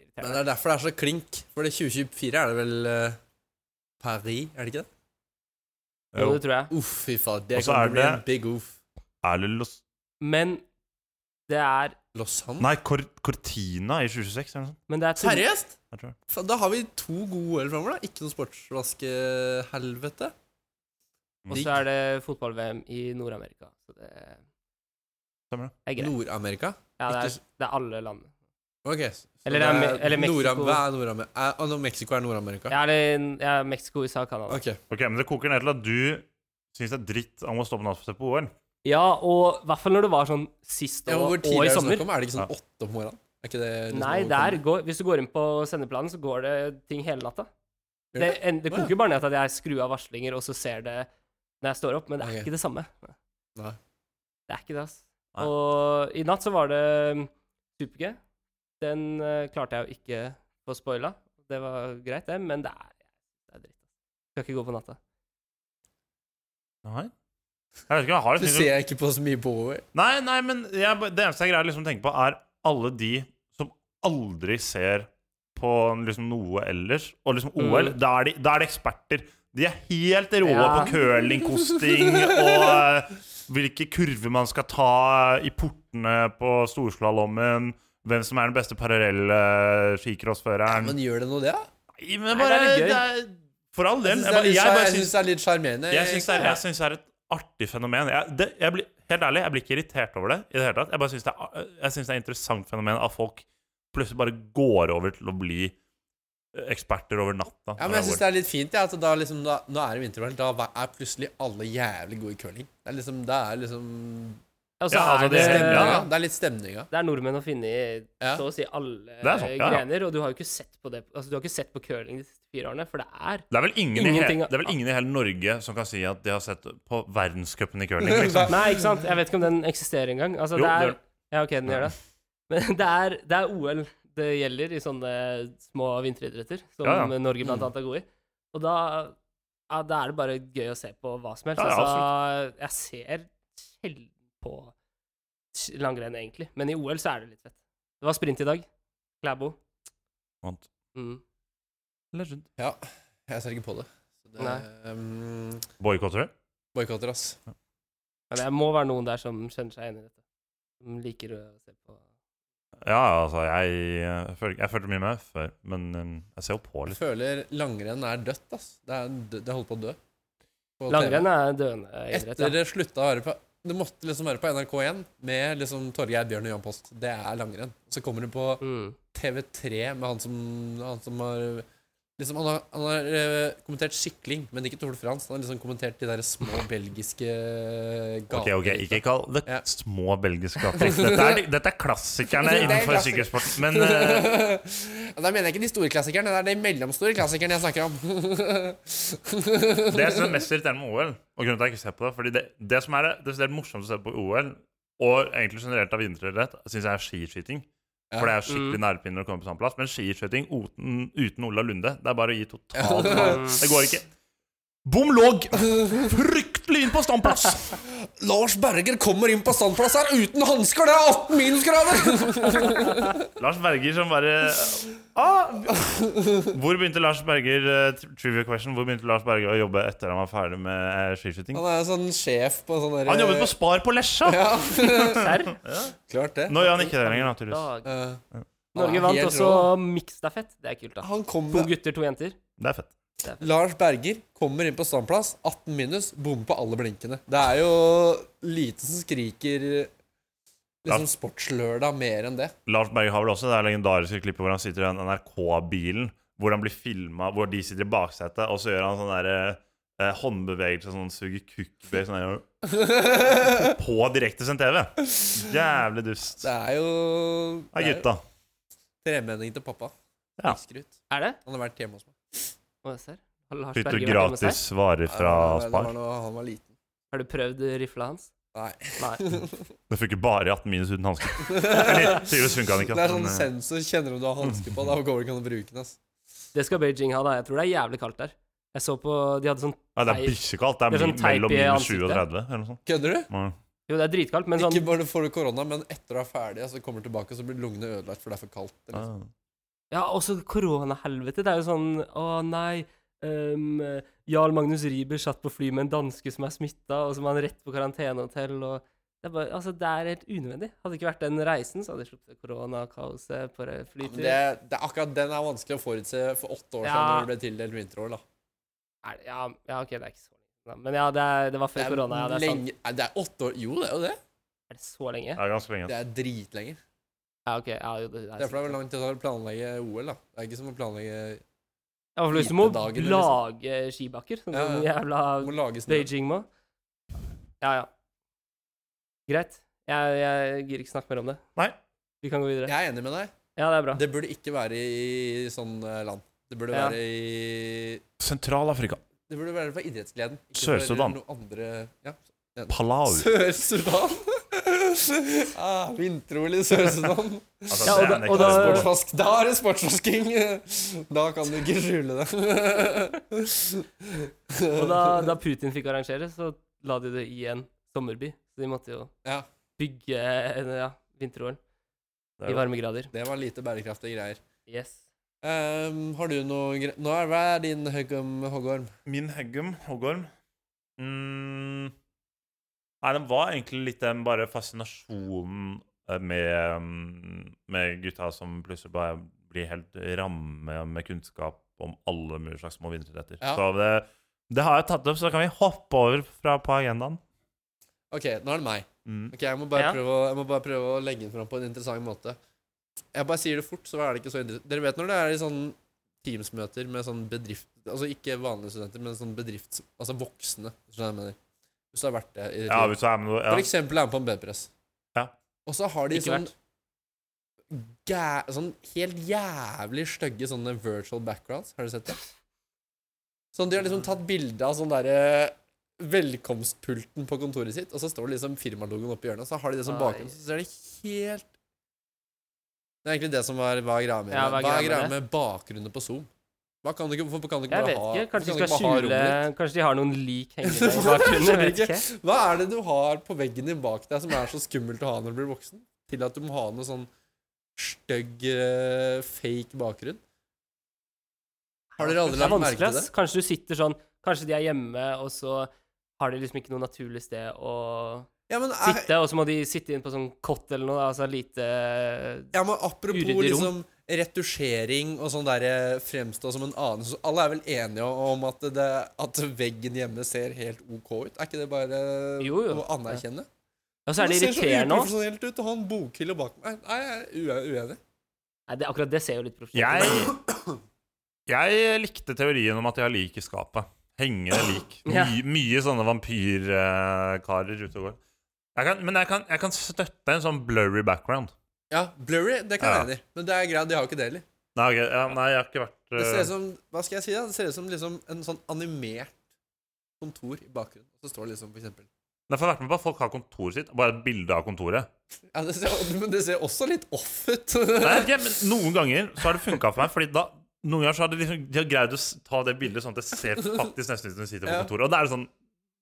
Men irriterende. det er derfor det er så klink. For det 2024 er det vel eh, Paris, er det ikke det? Jo, Jo. det tror jeg. Uff, fy faen. Det Og så kan er bli en det- big oof. Er det Los... Men det er Lausanne? Nei, Cor Cortina i 2026 eller noe sånt. Men det er turn- Seriøst? Jeg tror. Faen, Da har vi to gode OL framover, da. Ikke noe sportsvaskehelvete. Og så er det fotball-VM i Nord-Amerika. Så det Stemmer det. er greit. Nord-Amerika? Ja, det er, Ikke- det er alle landene. Ok. så Eller det er Me- eller Mexico. Nordam- Hva er Nord-Amerika? Er, ah, no, Mexico er Nord-Amerika? Ja, eller ja, Mexico, USA, Canada. Ok. Ok, men det koker ned til at du syns det er dritt om å stå på natt for å se på OL. Ja, og i hvert fall når det var sånn sist Ja, og, men hvor og tidlig i er det sommer. snakk om? Er det ikke sånn Ja. åtte om morgenen? Er ikke det liksom Nei, der overkommelig? går, hvis du går inn på sendeplanen, så går det ting hele natta. Gjør Det, det? en, det Å, ja. koker bare ned til at jeg skrur av varslinger, og så ser det når jeg står opp, men det er Ok. ikke det samme. Nei. Det er ikke det, ass. Nei. Og i natt så var det mm, Super-G. Den eh, klarte jeg jo ikke få spoila. Det var greit, det, men det er, det er dritt. Skal ikke gå på natta. Nei. Jeg vet ikke, jeg har et Du syn- ser ikke på så mye Bowie. Nei, nei, men jeg, ba- det eneste jeg greier liksom å tenke på, er alle de som aldri ser på liksom noe ellers. Og liksom OL, Mm. da er de, da er de eksperter. De er helt rå Ja. på curlingkosting og eh, hvilke kurver man skal ta i portene på storslalåmmen. Hvem som er den beste parallell-skicrossføreren. Men gjør det noe, det? da? Nei, men Nei, det bare er litt gøy. det er, For all Jeg del. syns det er Jeg, bare- litt jeg sjar- bare jeg syns syns det er litt sjarmerende. jeg syns det, er- jeg syns det er et artig fenomen. Jeg, det, jeg blir, helt ærlig, jeg blir ikke irritert over det i det hele tatt. Jeg bare syns det, er- jeg syns det er et interessant fenomen at folk plutselig bare går over til å bli eksperter over natta. Ja, men jeg synes det er litt fint, ja, at da liksom, da, nå er det vinter-OL. Da er plutselig alle jævlig gode i curling. Det er liksom, det er liksom Og så Ja, altså, er det, det- stemninga. ja. Det er litt stemninga. det er nordmenn å finne i Ja. så å si alle er sant, ja, ja. grener, og du har jo ikke sett på det Altså, du har ikke sett på curling de siste fire årene, for det er det er vel ingen, i Ingenting- hele, det er vel ingen i hele Norge som kan si at de har sett på verdenscupen i curling. Liksom. Nei, ikke sant? Jeg vet ikke om den eksisterer engang. Altså, Jo, det er det gjør den. Ja, OK, den gjør det. Men det er, det er OL det gjelder i sånne små vinteridretter, som Ja, ja. Norge blant annet er god i. Og da ja, da er det bare gøy å se på hva som helst. Ja, ja, altså, jeg ser sjelden på s- langrenn, egentlig. Men i OL så er det litt fett. Det var sprint i dag. Klæbo. Vant. Mm. Legend. Ja. Jeg ser ikke på det. Så det um, Boykotter det? Boikotter, ass. Men det må være noen der som kjenner seg igjen i dette. Som liker å se på Ja, altså, jeg, eh, følger- jeg følte mye med før, men eh, jeg ser jo Jeg på litt. føler langrenn er dødt, ass. Det, er, en død- det holder på å dø. På TV. Langrenn er en døende idrett. Etter Ja. det slutta å være på Det måtte liksom være på NRK1 med liksom Torgeir, Bjørn og Jan Post. Det er langrenn. Så kommer du på Mm. TV3 med han som, han som har Liksom, han har, han har eh, kommentert sykling, men ikke Tour de France. Han har liksom kommentert de der små belgiske eh, Ok, gatene. ok, Ikke kall det Ja. små belgiske gater. Dette er, dette er klassikerne Det er innenfor klassik- sykkelsport. Men eh, Da mener jeg ikke de store klassikerne, det er de mellomstore klassikerne jeg snakker om. Det som er mest irriterende med OL, og grunnen til at jeg ikke ser på det Fordi det, det som er det, det som er morsomt å se på OL, og egentlig generelt av vinteridrett, syns jeg er skiskyting. For det er skikkelig nærpinner å komme på samme plass. Men skiskyting uten, uten Ola Lunde, det er bare å gi totalt faen. Det går ikke. Bom låg fryktelig inn på standplass! Lars Berger kommer inn på standplass her uten hansker, det er 18 minusgrader! Lars Berger som bare ah, Hvor begynte Lars Berger eh, Trivia question Hvor begynte Lars Berger å jobbe etter han var ferdig med eh, skiskyting? Han er sånn sjef på sånn der Han jobbet på Spar på Lesja! Ja, Serr? eh, klart det. Nå gjør han ikke det lenger, naturligvis. Dag. Eh, Norge Ah, vant helt også rå. miksstafett. Det er kult, da. han kom To med gutter, to jenter. Det er fett. Lars Berger kommer inn på standplass, 18 minus, bommer på alle blinkene. Det er jo lite som skriker eh, liksom sportslørdag mer enn det. Lars Berger har vel også det der legendariske klippet hvor han sitter i den NRK-bilen, hvor han blir filma, hvor de sitter i baksetet, og så gjør han sånn derre eh, håndbevegelse, sånn suger kukk sånn der, På direktesendt TV. Jævlig dust. Det er jo Ja, det er jo gutta. tremenning til pappa. Ja. Husker ut. Er det? Han har vært hjemme hos meg. Å, jeg ser. Har Lars Bytter Berger vært hjemme hos gratis varer fra Ja, det var Spar. når han var liten. deg? Har du prøvd rifla hans? Nei. Nei. Det funker bare i 18 minus uten hansker. Tydeligvis funka den ikke. Det er da, sånn men, eh, sensor kjenner om du har hansker på. Da går du ikke an å bruke den. ass. Det skal Beijing ha, da. Jeg tror det er jævlig kaldt der. Jeg så på De hadde sånn Ja, det er teip. bikkjekaldt. Det Det er er mi- sånn teip mellom i minus ansiktet. 37 eller noe sånt. Kødder du? Ja. Jo, det er dritkaldt, men sånn Ikke bare får du korona, men etter du er ferdig, og så kommer du tilbake, og så blir lungene ødelagt, for det er for kaldt. Eller? Ja. Ja, også koronahelvete. Det er jo sånn Å, nei. ehm, Jarl Magnus Riiber satt på fly med en danske som er smitta, og så må han rett på karantenehotell, og det er, bare, altså, det er helt unødvendig. Hadde det ikke vært den reisen, så hadde jeg sluppet koronakaoset på det Ja, men flytur. det, det, er akkurat den er vanskelig å forutse for åtte år siden, Ja. når du ble tildelt vinter-OL. da. Er det- Ja, ja, ok, det er ikke så lenge. Men ja, det, er, det var før korona. Ja, det er, sant. lenge, Nei, det er åtte år Jo, det er jo det. er det så lenge? Det er ganske lenge. Det er dritlenge. Ja, ok. Ja, jo, det, det er Derfor er det sant. vel lang tid å planlegge OL, da. Det er ikke som å planlegge Ja, for Hvis du må hvitedagene, liksom. lage skibakker, sånn som Ja, ja. jævla Du må lage snø. Beijing må. Ja, ja. Greit. Jeg, jeg gir ikke snakke mer om det. Nei. Vi kan gå videre. Jeg er enig med deg. Ja, det er bra. Det burde ikke være i sånn eh, land. Det burde Ja. være i Sentral-Afrika. Det burde være for idrettsgleden. ikke for Sør-Sudan. noe andre ja. Palau. Sør-Sudan? ah, Vinter-OL i Sør-Sudan. Altså, Ja, og det er da- en og da- ekstrem- Sportsvask. Da er det sportsvasking! Da kan du ikke skjule det. Og da, da Putin fikk arrangere, så la de det i en sommerby, så de måtte jo Ja. bygge en ja, vinter-OL Det er i jo- varme grader. Det var lite bærekraftige greier. Yes. Ehm, har du noe gre... Nå er hva er din høggum hoggorm? Min heggum, hoggorm mm. Nei, den var egentlig litt den bare fascinasjonen eh, med, mm, med gutta som plutselig bare blir helt ramme med kunnskap om alle mulige slags små vinteridretter. Ja. Så det, det har jeg tatt opp, så kan vi hoppe over fra på agendaen. Ok, nå er det meg. Mm. Ok, jeg må, bare Ja. prøve å, jeg må bare prøve å legge den fram på en interessant måte. Jeg bare sier det fort, så er det ikke så interessant. Dere vet når det er i sånn Teams-møter med sånn bedrift... Altså ikke vanlige studenter, men sånn bedrifts... Altså voksne, hvis du skjønner hva jeg mener. Hvis du har vært det i ditt Ja, liv. hvis du er med noe For ja. eksempel er han på en bedpress. Ja. Og så har de Ikke sånn gæ... Sånn helt jævlig stygge sånne virtual backgrounds. Har du sett det? Sånn, De har liksom tatt bilde av sånn derre velkomstpulten på kontoret sitt, og så står det liksom firmalogoen oppi hjørnet, og så har de det som Ai. bakgrunn. Så ser det helt Det er egentlig det som var hva er greia med Ja, det? hva er Hva er greia greia med med bakgrunnen på Zoom? Hva kan du ikke, hvorfor kan du ikke Jeg bare vet ha ikke. Kanskje hvorfor de kan du skal ikke bare skjule ha rommet ditt? Kanskje de har noen lik hengende i bakgrunnen. Jeg vet ikke. Hva er det du har på veggen din bak deg som er så skummelt å ha når du blir voksen? Til at du må ha noe sånn stygg, eh, fake bakgrunn? Har dere aldri Det er lagt merke vanskelig, til det? ass. Kanskje du sitter sånn Kanskje de er hjemme, og så har de liksom ikke noe naturlig sted å Ja, men, er, sitte, og så må de sitte inn på sånn kott eller noe, da, altså lite ja, men apropos Uryddig rom. liksom retusjering og sånn derre fremstå som en annen så Alle er vel enige om at, det, at veggen hjemme ser helt OK ut? Er ikke det bare Jo, jo. å anerkjenne? Og så er det ser så irriterende òg. uprofesjonelt ut å ha en bokhylle bak meg. Nei, jeg er ue- uenig. Nei, det, akkurat det ser jo litt profesjonelt ut. Jeg, jeg likte teorien om at jeg har lik i skapet. Hengende lik. My, Ja. Mye sånne vampyrkarer ute og går. Jeg kan, men jeg kan, jeg kan støtte en sånn blurry background. Ja, blurry, det kan Ja. jeg enig i. Men det er greit, de har jo ikke det heller. Nei, ok, ja, nei, jeg har ikke vært Det ser eh, ut som Hva skal jeg si? da? Det ser ut som liksom en sånn animert kontor i bakgrunnen. Og så står det liksom for eksempel Nei, for jeg har vært med på at folk har kontoret sitt. Bare et bilde av kontoret. ja, det ser, Men det ser også litt off ut. Nei, ok, men Noen ganger så har det funka for meg. Fordi da noen ganger så har de, liksom, de har greid å s- ta det bildet sånn at det ser faktisk nesten ut som du sitter på Ja. kontoret. Og da er det sånn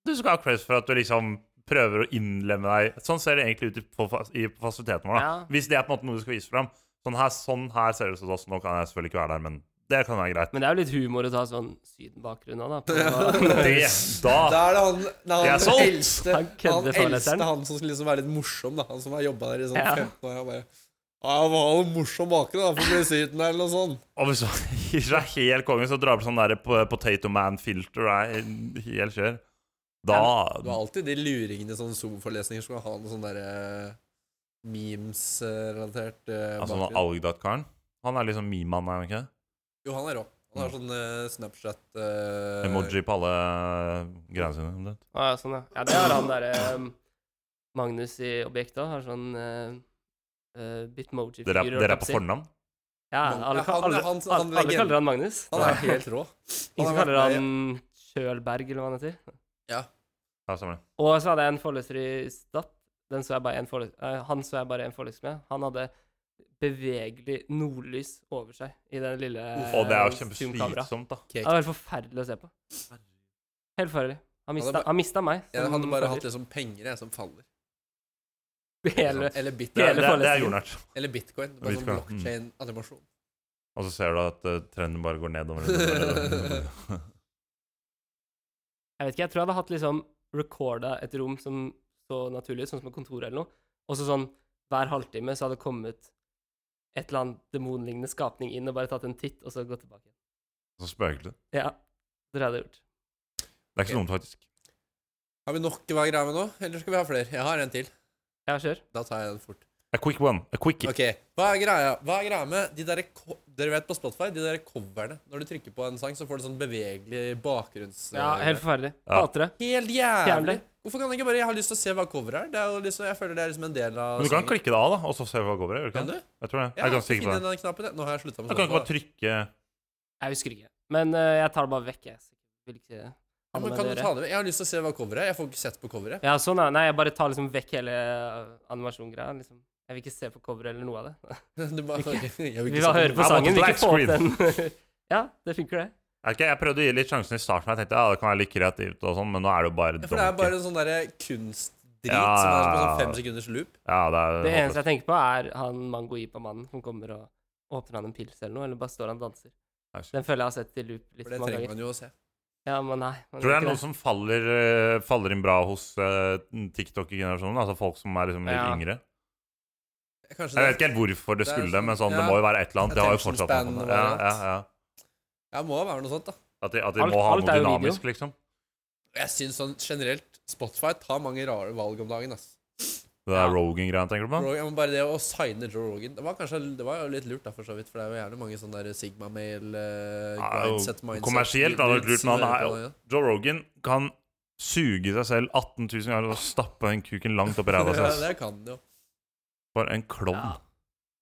Du skal ha creds for at du liksom prøver å innlemme deg Sånn ser det egentlig ut i, på, fas- i på fasiliteten vår. da Ja. Hvis det er på en måte noe du skal vise fram. Sånn her, sånn her ser det ut hos oss. Nå kan jeg selvfølgelig ikke være der, men det kan være greit. Men det er jo litt humor å ta sånn Syden-bakgrunn òg, da. På, Det, da Da er det han, det er Jeg er han solgt. eldste Han kødder han, foreleseren. eldste, han som skulle liksom være litt morsom, da. Han som har jobba der i sånn Ja. 15 år. Han bare ja, jeg må ha noe morsom bakgrunn da, for å bli syten her, eller noe sånt. Og hvis man gir seg helt konge, så drar på sånn der po- potato man-filter og er helt kjør. Da Du har alltid de luringene i sånne Zoom-forelesninger som kan ha noe sånn derre memes-relatert eh, Altså bakgrunn. sånn Algdat-karen. Han er liksom meme-mann, er han ikke det? Jo, han er rå. Han har sånn eh, Snapchat eh, Mm. Emoji på alle eh, greiene sine. omtrent. Å, ja, sånn, ja. ja, det har han derre um, Magnus i Objekta. Har sånn eh, eh, Bitmoji-fyr. Dere er, holdt dere jeg er på å på si. fornavn? Ja, Ja, han- alle, alle, han- alle, han alle legger- kaller han Magnus. Han er helt rå. Ingen som har vært kaller han Kjølberg, eller hva han heter. Ja, stemmer det. Og så hadde jeg en foreleser i Stapp. Den så jeg bare en foreleser, eh, han så jeg bare en foreleser med. Han hadde bevegelig nordlys over seg i den lille Og det er jo zoom-kameraet. kjempeslitsomt, da. Det var helt forferdelig å se på. Helt forferdelig. Ja, det Han mista, er bare- han mista meg. Jeg som hadde bare hatt foreleser. liksom penger jeg, som faller. Hele, Eller, bit Det, er- Hele det, er- det er forelesningen. jordnært. eller bitcoin. Bare sånn Bitcoin, mm. blockchain-animasjon. Og så ser du at eh, trenden bare går nedover. nedover, nedover. jeg vet ikke, jeg tror jeg hadde hatt liksom recorda et rom som så naturlig ut, sånn som et kontor eller noe, og så sånn hver halvtime så hadde det kommet et eller annet demonlignende skapning inn og bare tatt en titt, og så gått tilbake. igjen. Så spøkelig. Ja, det hadde jeg gjort. Det er ikke så dumt, faktisk. Har vi nok hva er greia med nå, eller skal vi ha flere? Jeg har en til. Ja, kjør. Da tar jeg den fort. A quick one. A quickie. Ok, Hva er greia Hva er greia med de derre ko- Dere vet på Spotify, de derre coverne. Når du trykker på en sang, så får du sånn bevegelig bakgrunns... Ja, helt forferdelig. eh, Ja. Hater det. Helt Fjern jævlig! det. Hvorfor kan jeg ikke bare Jeg har lyst til å se hva coveret er. Det er jo liksom, jeg føler det er liksom en del av Men du kan klikke det av, da, og så se hva går over. gjør du ikke Kan du? det? Jeg tror det. Jeg Ja, er ganske sikker på finn det. den knappen. Nå har jeg slutta med Du kan ikke Spotify. bare trykke Jeg husker ikke. Men eh, jeg tar det bare vekk, jeg. Så jeg vil Ja, ikke ha noe men med kan du det å ta gjøre. det med? Jeg har lyst til å se hva coveret er. Jeg får ikke sett på coveret. Ja, sånn er Nei, jeg bare tar liksom vekk hele eh, animasjongreia, liksom. Jeg vil ikke se på coveret eller noe av det. Du bare, ok, jeg vil Vi ikke se på bare hører coveret. på Ja, sangen, vi vil black ikke få opp den. ja, det funker, det. Jeg, vet ikke, jeg prøvde å gi litt sjansen i starten. Jeg tenkte ja, det kan være litt kreativt, og sånn, men nå er det jo bare For det er donkey. bare en sånn derre kunstdrit Ja, som er på ja, ja. sånn fem sekunders loop. Ja, det er Det eneste jeg tenker på, er han mangoipa-mannen som kommer og åpner han en pils eller noe, eller bare står han og danser. håpløst. Den føler jeg har sett i loop litt For det for mange trenger ganger. man jo å se. Ja, men nei. Man Tror det er gjør noen ikke som faller, eh, faller inn bra hos eh, TikTok-generasjonen. Altså folk som er liksom litt Ja. yngre. Kanskje Jeg det- vet ikke helt hvorfor det det er skulle, sånn- men sånn, det ja. må jo være et eller annet. Det har jo Attention fortsatt noe sånt. span Ja, variant. ja, ja. Ja, må være noe sånt, da. At de, at de Alt- må ha alt noe er jo dynamisk, liksom. Jeg syns sånn generelt Spotify tar mange rare valg om dagen. ass Det der Ja. Rogan-greia, tenker du på? Rogan, ja, men bare det å signe Joe Rogan Det var kanskje Det var jo litt lurt, da, for så vidt. For det er jo gjerne mange sånne der Sigma-mail eh, Ja, Grindset jo, mindset kommersielt hadde det vært lurt, som men han hører er på jo- det, Joe Rogan kan suge seg selv 18 000 ganger og stappe den kuken langt opp i ræva ja. ja, si. det kan han jo. For en klovn. Ja.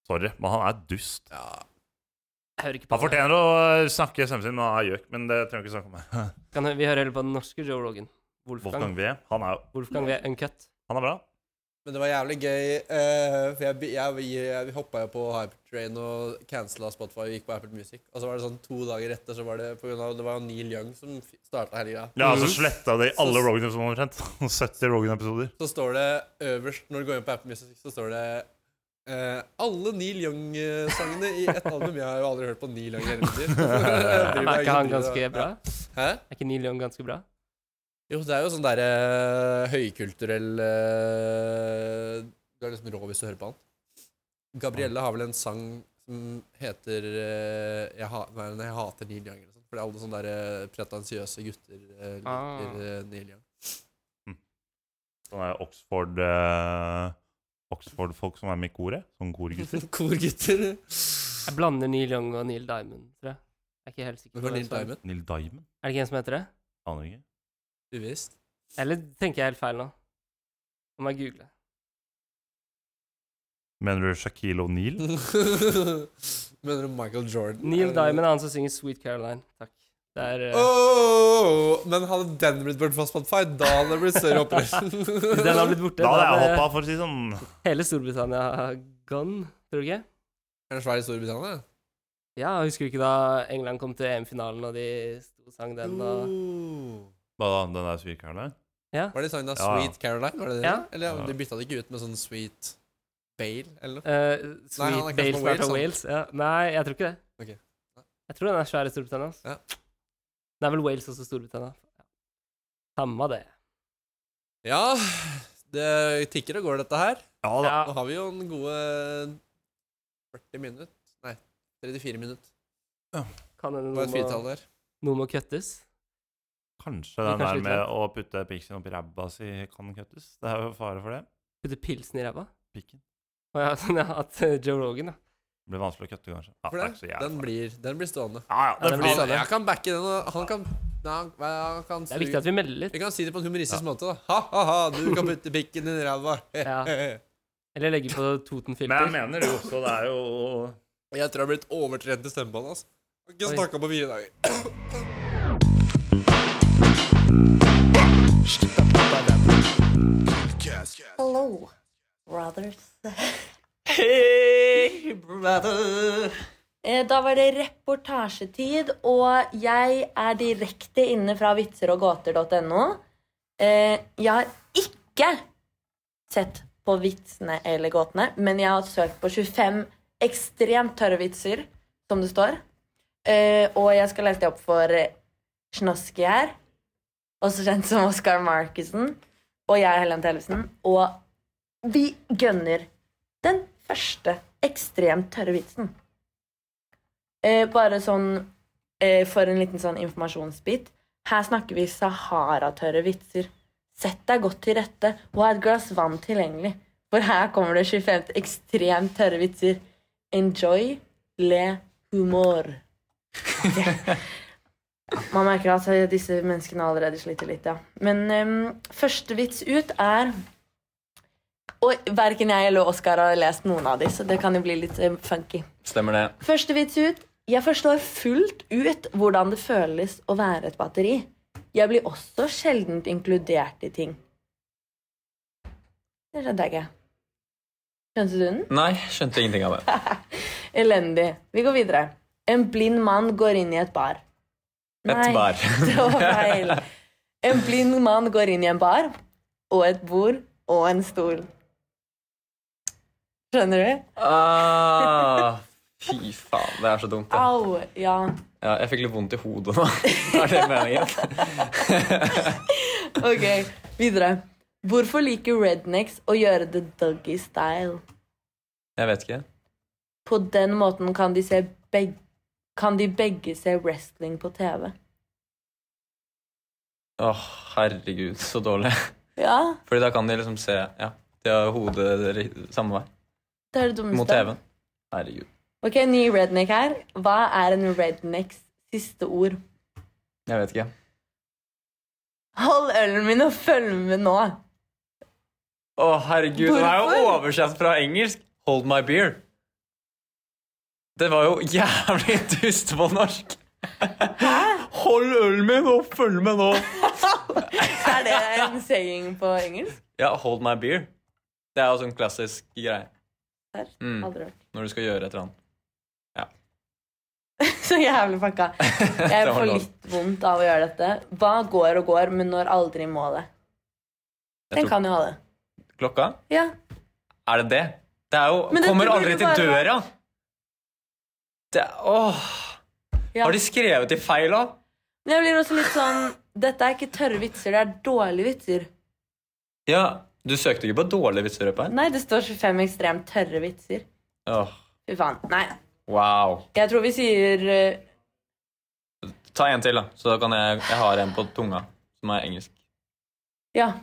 Sorry, men han er dust. Ja. Jeg hører ikke på Han det. fortjener å eh, snakke stemmen sin, men han er gjøk. Men det trenger vi ikke snakke om her. Kan vi hører heller på den norske Joe Rogan. Wolfgang, Wolfgang V, han er, jo- Wolfgang V. Uncut. han er bra. Men det var jævlig gøy, eh, for jeg, be- jeg, jeg, jeg hoppa jo på Hypertrain og cancela Spotify og gikk på Apple Music. Og så var det sånn to dager etter, så var det på grunn av Det var jo Neil Young som starta hele greia. Ja, Mhm. altså sletta de alle Så- Rogan-episoder omtrent. 70 Rogan-episoder. så står det øverst Når du går inn på Apple Music, så står det eh, alle Neil Young-sangene i ett album. Jeg har jo aldri hørt på Neil Young i hele mitt liv. Jeg bryr Er meg ikke om han det. ganske bra? Hæ? Er ikke Neil Young ganske bra? Jo, det er jo sånn derre høykulturell eh, Du er liksom rå hvis du hører på han. Gabrielle har vel en sang som heter eh, jeg, ha, nei, nei, 'Jeg hater Neil Young'. Eller sånt, for det er alle sånne der, eh, pretensiøse gutter eh, liker Ah. eh, Neil Young. Sånn er Oxford eh, Oxford-folk som er med i koret. Sånn korgutter. Korgutter. Jeg blander Neil Young og Neil Diamond, tror jeg. Jeg er ikke helt sikker. Hvem på var hvem Neil som- Diamond? Neil Diamond? Er det ikke en som heter det? Aner ikke. Uvisst. Eller tenker jeg helt feil nå? Nå må jeg google. Mener du Shaquille O'Neal? Mener du Michael Jordan? Neil Diamond er han som synger Sweet Caroline. Takk. Det er eh, Åh, men hadde den blitt burnt fast på en fight, da hadde det blitt større opprør. Mm, Den har blitt borte. Da hadde Da jeg er det- hoppa, for å si det sånn. Hele Storbritannia har gone, tror du ikke? Er det svær i Storbritannia? Ja, husker du ikke da England kom til EM-finalen, og de sto og sang den? Og... Oh. Hva da, den der svikeren der? Var det sangen av Ja, ja. Sweet Caroline? Var det det? Ja. Eller ja, Ja. de bytta det ikke ut med sånn Sweet Bale, eller noe? Eh, Nei, han sweet er kanskje Bales fra Part of Wales, Wales. Ja. Nei, jeg tror ikke det. Ok. Nei. Jeg tror den er svær i Storbritannia. Altså. Ja. Det er vel Wales også Storbritannia. Ja. Samme det. Ja, det tikker og går, dette her. Ja da. Ja, Nå har vi jo en gode 40 minutter. Nei, 34 minutter. kan hende Det var noe et må, firetall der. noe må kuttes. Kanskje Det er den kanskje der litt med lett. å putte piksen oppi ræva si kan kuttes. Det er jo fare for det. Putte pilsen i ræva. Pikken. Og ja, sånn, ja, at eh, Joe Rogan, da. Det blir vanskelig å kutte, kanskje. Ja, For det er ikke så det, jævlig den farlig. blir, den blir stående. Ja, ja, det den blir blir sånn. Altså, jeg kan backe den, og han kan Nei, han, han kan Det er viktig at vi melder litt. Vi kan si det på en humoristisk måte, da. Ha-ha-ha, du kan putte pikken din i ræva. Ja. Eller legge på Men jeg Toten-filter. mener jo også, det er jo Jeg tror jeg har blitt overtrent i stemmebåndet. Altså. Jeg har Oi. Ikke snakka på fire dager. Hello, brothers. Hey, brother. Eh, Da var det reportasjetid, og jeg er direkte inne fra vitseroggåter.no. Eh, Jeg har ikke sett på vitsene eller gåtene, men jeg har søkt på 25 ekstremt tørre vitser, som det står. Eh, Og jeg skal lese de opp for eh, Snoski her, også kjent som Oscar Markussen, og jeg, Helen Tellefsen, og vi gønner den første ekstremt tørre vitsen. Eh, bare sånn eh, for en liten sånn informasjonsbit. Her snakker vi Sahara-tørre vitser. Sett deg godt til rette og ha et glass vann tilgjengelig. For her kommer det 25 ekstremt tørre vitser. Enjoy le humor. Ja, man merker at eh, disse menneskene allerede sliter litt, ja. Men em, første vits ut er Og verken jeg eller Oskar har lest noen av de, så det kan jo bli litt eh, funky. Stemmer det. Første vits ut. Jeg forstår fullt ut hvordan det føles å være et batteri. Jeg blir også sjeldent inkludert i ting. Det skjønte jeg ikke. Skjønte du den? Nei, skjønte ingenting av det. Elendig. Vi går videre. En blind mann går inn i et bar. Nei, Et bar. det var feil. En blind mann går inn i en bar, og et bord, og en stol. Skjønner du? Ah, fy faen, det er så dumt. Det. Au! Ja. Ja, jeg fikk litt vondt i hodet nå. Er det meningen? Ok, videre. Hvorfor liker rednecks å gjøre det doggy style? Jeg vet ikke. På den måten kan de, se beg kan de begge se wrestling på TV. Å, herregud, så dårlig. Ja, Fordi da kan de liksom se Ja, de har hodet ri- samme vei det er det dummeste. mot TV-en. Herregud. Ok, ny redneck her. Hva er en rednecks siste ord? Jeg vet ikke. Hold ølen min og følg med nå. Å, herregud, den er jo Hvorfor? oversatt fra engelsk. Hold my beer. Det var jo jævlig dust på norsk. Hold ølen min og følg med nå. Er det en saying på engelsk? Ja, hold my beer. Det er jo sånn klassisk greie Der. Mm. Aldri hørt. når du skal gjøre et eller annet. Så jævlig fucka. Jeg Det var får lov. litt vondt av å gjøre dette. Hva går og går, men når aldri målet? Jeg Den tror- kan jo ha det. Klokka? Ja. Er det det? Det er jo Men det Kommer burde aldri det til bare døra! Det er, åh. ja. Har de skrevet i feil òg? Men jeg blir også litt sånn Dette er ikke tørre vitser, det er dårlige vitser. Ja. Du søkte ikke på dårlige vitser oppe her? Nei, det står 25 ekstremt tørre vitser. Åh, Fy faen. Nei. wow. Jeg tror vi sier eh, Ta en til, da. Så da kan jeg Jeg har en på tunga som er engelsk. Ja.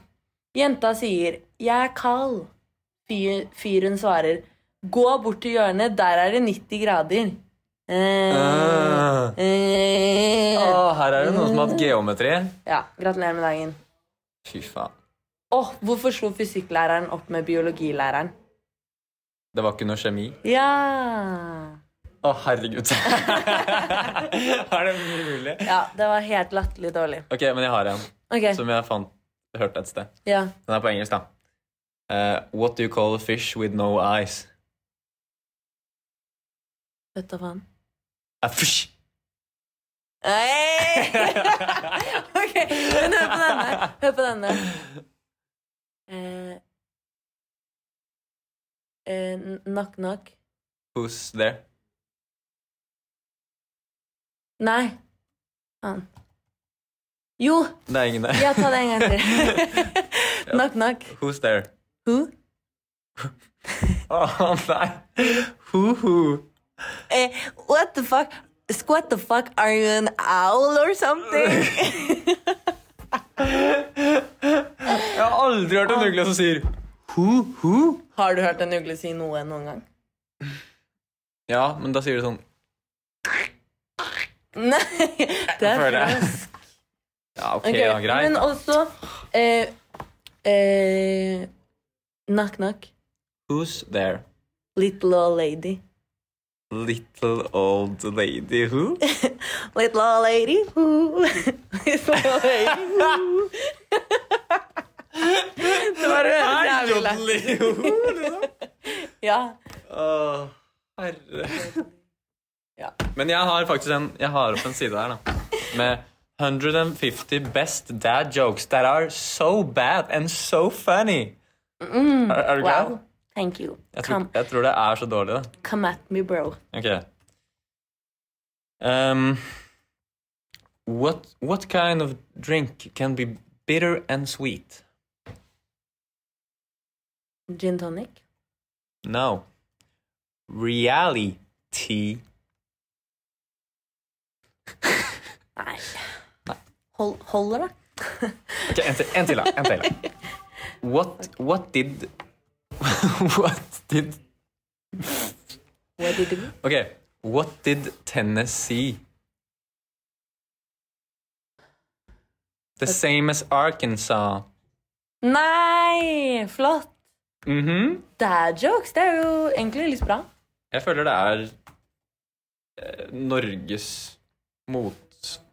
Jenta sier 'jeg er kald'. Fy- Fyren svarer 'gå bort til hjørnet, der er det 90 grader'. Eh, Ah. eh. Åh, her er det noen som har hatt geometri. Ja, gratulerer med dagen. Fy faen. Åh, hvorfor slo fysikklæreren opp med biologilæreren? Det var ikke noe kjemi. Ja Å, herregud. er det mulig? Ja, det var helt latterlig dårlig. Ok, men jeg har en Ok, som jeg fant hørte et sted. ja. Den er på engelsk, da. Eh, what do you call a fish with no eyes? Vet du hva faen. A fish. Hey! ok, men hør på denne. Hør på denne. Eh, eh, knock, knock. Who's there? Nei. Faen. Jo, Det er ingen der. ja, ta det en gang til. knock, knock. Who's there? Who? Å nei! Hu-hu. Eh, what the fuck? What the fuck? Are you an owl or something? Jeg har aldri hørt en ugle som sier hu-hu. Har du hørt en ugle si noe noen gang? Ja, men da sier du sånn Nei, det er Føler jeg. fransk. Ja, ok, Ok, ja, greit. Men også eh, eh, Knock knock Who's there? Little old lady Little old lady who? Little old lady who? Little old lady who? Det var det jævlig lett Jodely who? liksom. Ja, Å, herre. Ja. Men jeg har faktisk en Jeg har opp en side her, da. Med 150 best dad jokes that are so bad and so funny. er, er du klar? wow Thank you Jeg tror, come, jeg tror det er så dårlig, da. come at me bro Ok. Um, what, what kind of drink can be bitter and sweet? Gin tonic No. Reality. Nei Hold, Holder da Ok, en til, en til, da. En til. da. What, what did What did What did you Ok. What did Tennessee The same as Arkansas. Nei, flott Mhm. Dad jokes, det er jo egentlig litt bra Jeg føler det er eh, Norges mot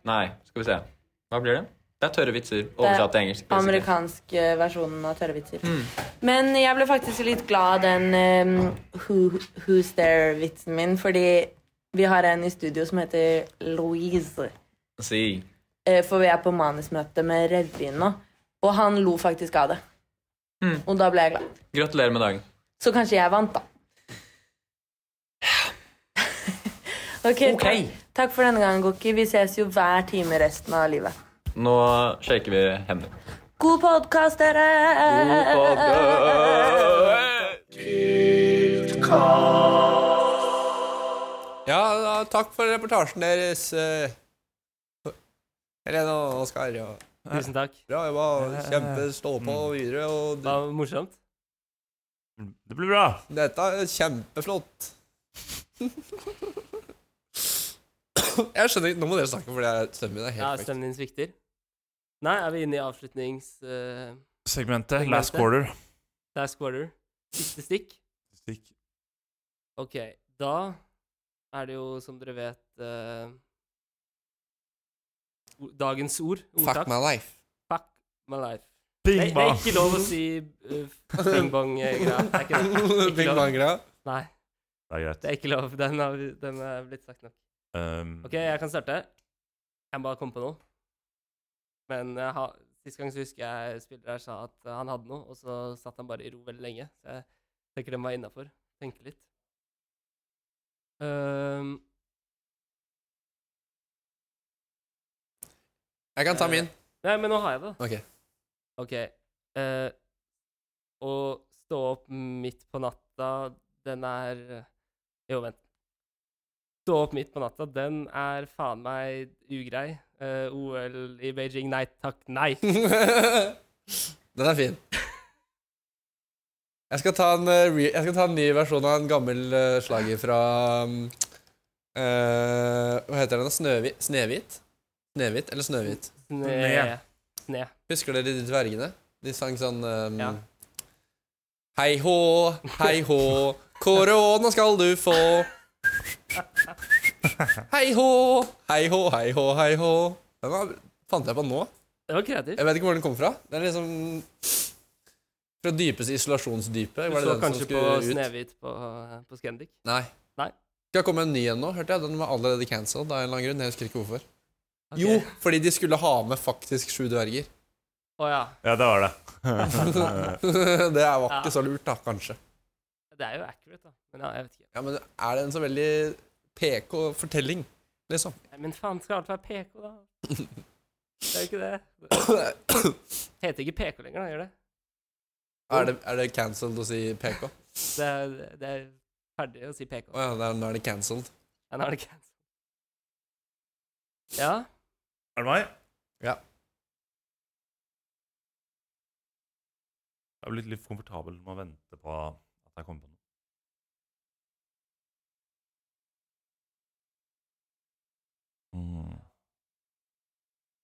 Nei, skal vi se. Hva blir det? Det er tørre vitser oversatt til engelsk. basically. Mm. amerikansk eh, versjonen av tørre vitser. Men jeg ble faktisk litt glad av den em, who, Who's there-vitsen min, fordi vi har en i studio som heter Louise. Si. Eh, For vi er på manusmøte med revyen nå. Og han lo faktisk av det. Mm. Og da ble jeg glad. Gratulerer med dagen. Så kanskje jeg vant, da. ok. Ok. Takk, takk for denne gangen, Goki. Vi ses jo hver time resten av livet. Nå shaker vi hender. God podkast, dere! Ja, da, takk for reportasjen deres. eh, Helene og Oskar. Ja. Tusen takk. Bra jobba. Kjempe stå på Mm. videre. Og Det var morsomt. Det blir bra. dette er kjempeflott. Jeg skjønner ikke Nå må dere snakke, for det er- stemmen min er Ja, helt vekk. stemmen din svikter. Nei, er vi inne i avslutnings... eh, Segmentet. Segmentet. Last quarter. last quarter? Siste stikk? Stikk. Ok, da er det jo, som dere vet, eh, o- dagens ord. Fuck my life. Fuck my life. Nei, Bing det er bang. ikke lov å si uh, bing bong-greia. Det er ikke det. Ikke Bing lov. bang greia. Nei, Det er greit. det er ikke lov. Den har vi- den er blitt sagt nok. Um, Ok, jeg kan starte. Jeg må bare komme på noe. Men jeg har- sist gang så husker jeg spiller her sa at eh, han hadde noe, og så satt han bare i ro veldig lenge. Så jeg tenker den var innafor. Tenke litt. Ehm, Jeg kan ta min. nei, men nå har jeg det. da. Ok. Ok. eh, å stå opp midt på natta, den er Jo, vent. Stå opp midt på natta, den er faen meg ugrei. Eh, OL i Beijing, nei takk, nei. Den er fin. Jeg skal ta en, eh, re jeg skal ta en ny versjon av en gammel eh, slager fra um, eh, Hva heter den? Snøhvi Snehvit? Snehvit eller Snøhvit? Sne. Sne. Husker dere de dvergene? De sang sånn um, Ja. Hei hå, hei hå, korona skal du få. Hei hå, hei hå, hei hå, hei hå. Den var, fant jeg på nå. Det var kreativt. Jeg vet ikke hvor den kom fra. Den er liksom Fra dypeste isolasjonsdypet. Var Du det så den som kanskje på skulle ut? Snehvit på, på Scandic. Nei. Nei. Skal komme en ny en nå, hørte jeg. Den var allerede cancelled av en eller annen grunn. Jeg husker ikke hvorfor. Ok. Jo, fordi de skulle ha med faktisk sju dverger. Å ja. Ja, det var det. det er- var Ja. ikke så lurt, da, kanskje. Det er jo accurate, da. Men ja, jeg vet ikke. Ja, men er det en så veldig PK fortelling, liksom? Nei, Men faen, skal alt være PK, da? Det er jo ikke det. Heter ikke PK lenger, da, gjør det? Er det, er det cancelled å si PK? Å Det er, det er ferdig å si PK. ja, det er- nå er det cancelled. Ja, nå er det cancel. Ja. Er det meg? Ja. Jeg har blitt litt komfortabel med å vente på at jeg kommer på noe. Mm.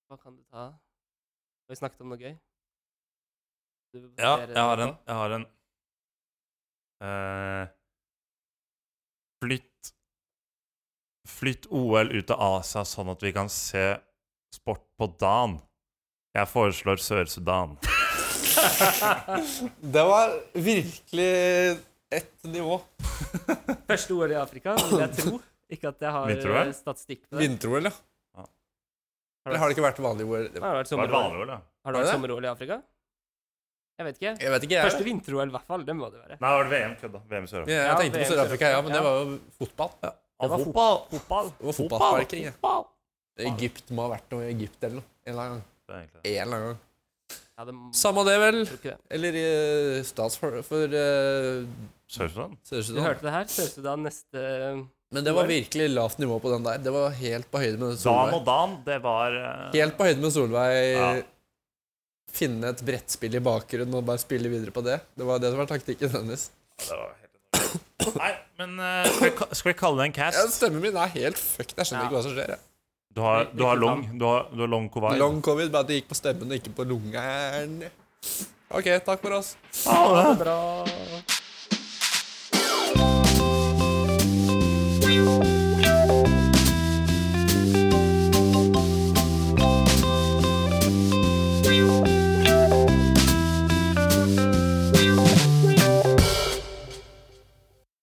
Hva kan du ta? Har vi snakket om noe gøy? Du vil Ja, basere jeg har det en. Jeg har en. Eh, flytt Flytt OL ut av Asia sånn at vi kan se sport på dagen. Jeg foreslår Sør-Sudan. Det var virkelig ett nivå. på. Første OL i Afrika, vil jeg tro. Ikke at jeg har Vinter-OL? eh, statistikk på det. Vinter-OL, ja. Ja. Eller har det ikke vært vanlig OL? Har det vært Det var sommer-OL? vanlig, eller? Har Var det det vært det? sommer-OL i Afrika? Jeg vet ikke. Jeg vet ikke, jeg. Første vinter-OL, i hvert fall. Det må det være. Nei, det var det VM? Kødda. VM i Ja, Sør-Afrika. jeg Ja, tenkte på VM Sør-Afrika, ja, men det Ja. var jo fotball. Det var fotball. Fotball. Det var Fotball, fotballsparking. ja. Egypt må ha vært noe i Egypt eller noe. En eller annen gang. Det er egentlig det. En eller annen gang. Ja, det må Samme det, vel. tror ikke det. Eller eh, statsfor... For eh, Sør-Sudan? Du Sør-Sudan. hørte det her. Sør-Sudan neste Men det var virkelig lavt nivå på den der. Det var helt på høyde med Dan Solveig. og Dan, det var eh, Helt på høyde med Solveig. Ja. Finne et brettspill i bakgrunnen og bare spille videre på det. Det var det som var taktikken hennes. det var helt Nei, men eh, skal, vi, ka- skal vi kalle det en Ja, cast? stemmen min er helt fucked. Jeg skjønner Ja. ikke hva som skjer. Jeg. Du har, du har long Du har, du har long covid. Long covid, bare at det gikk på stemmen og ikke på lungeren. OK, takk for oss. Bra.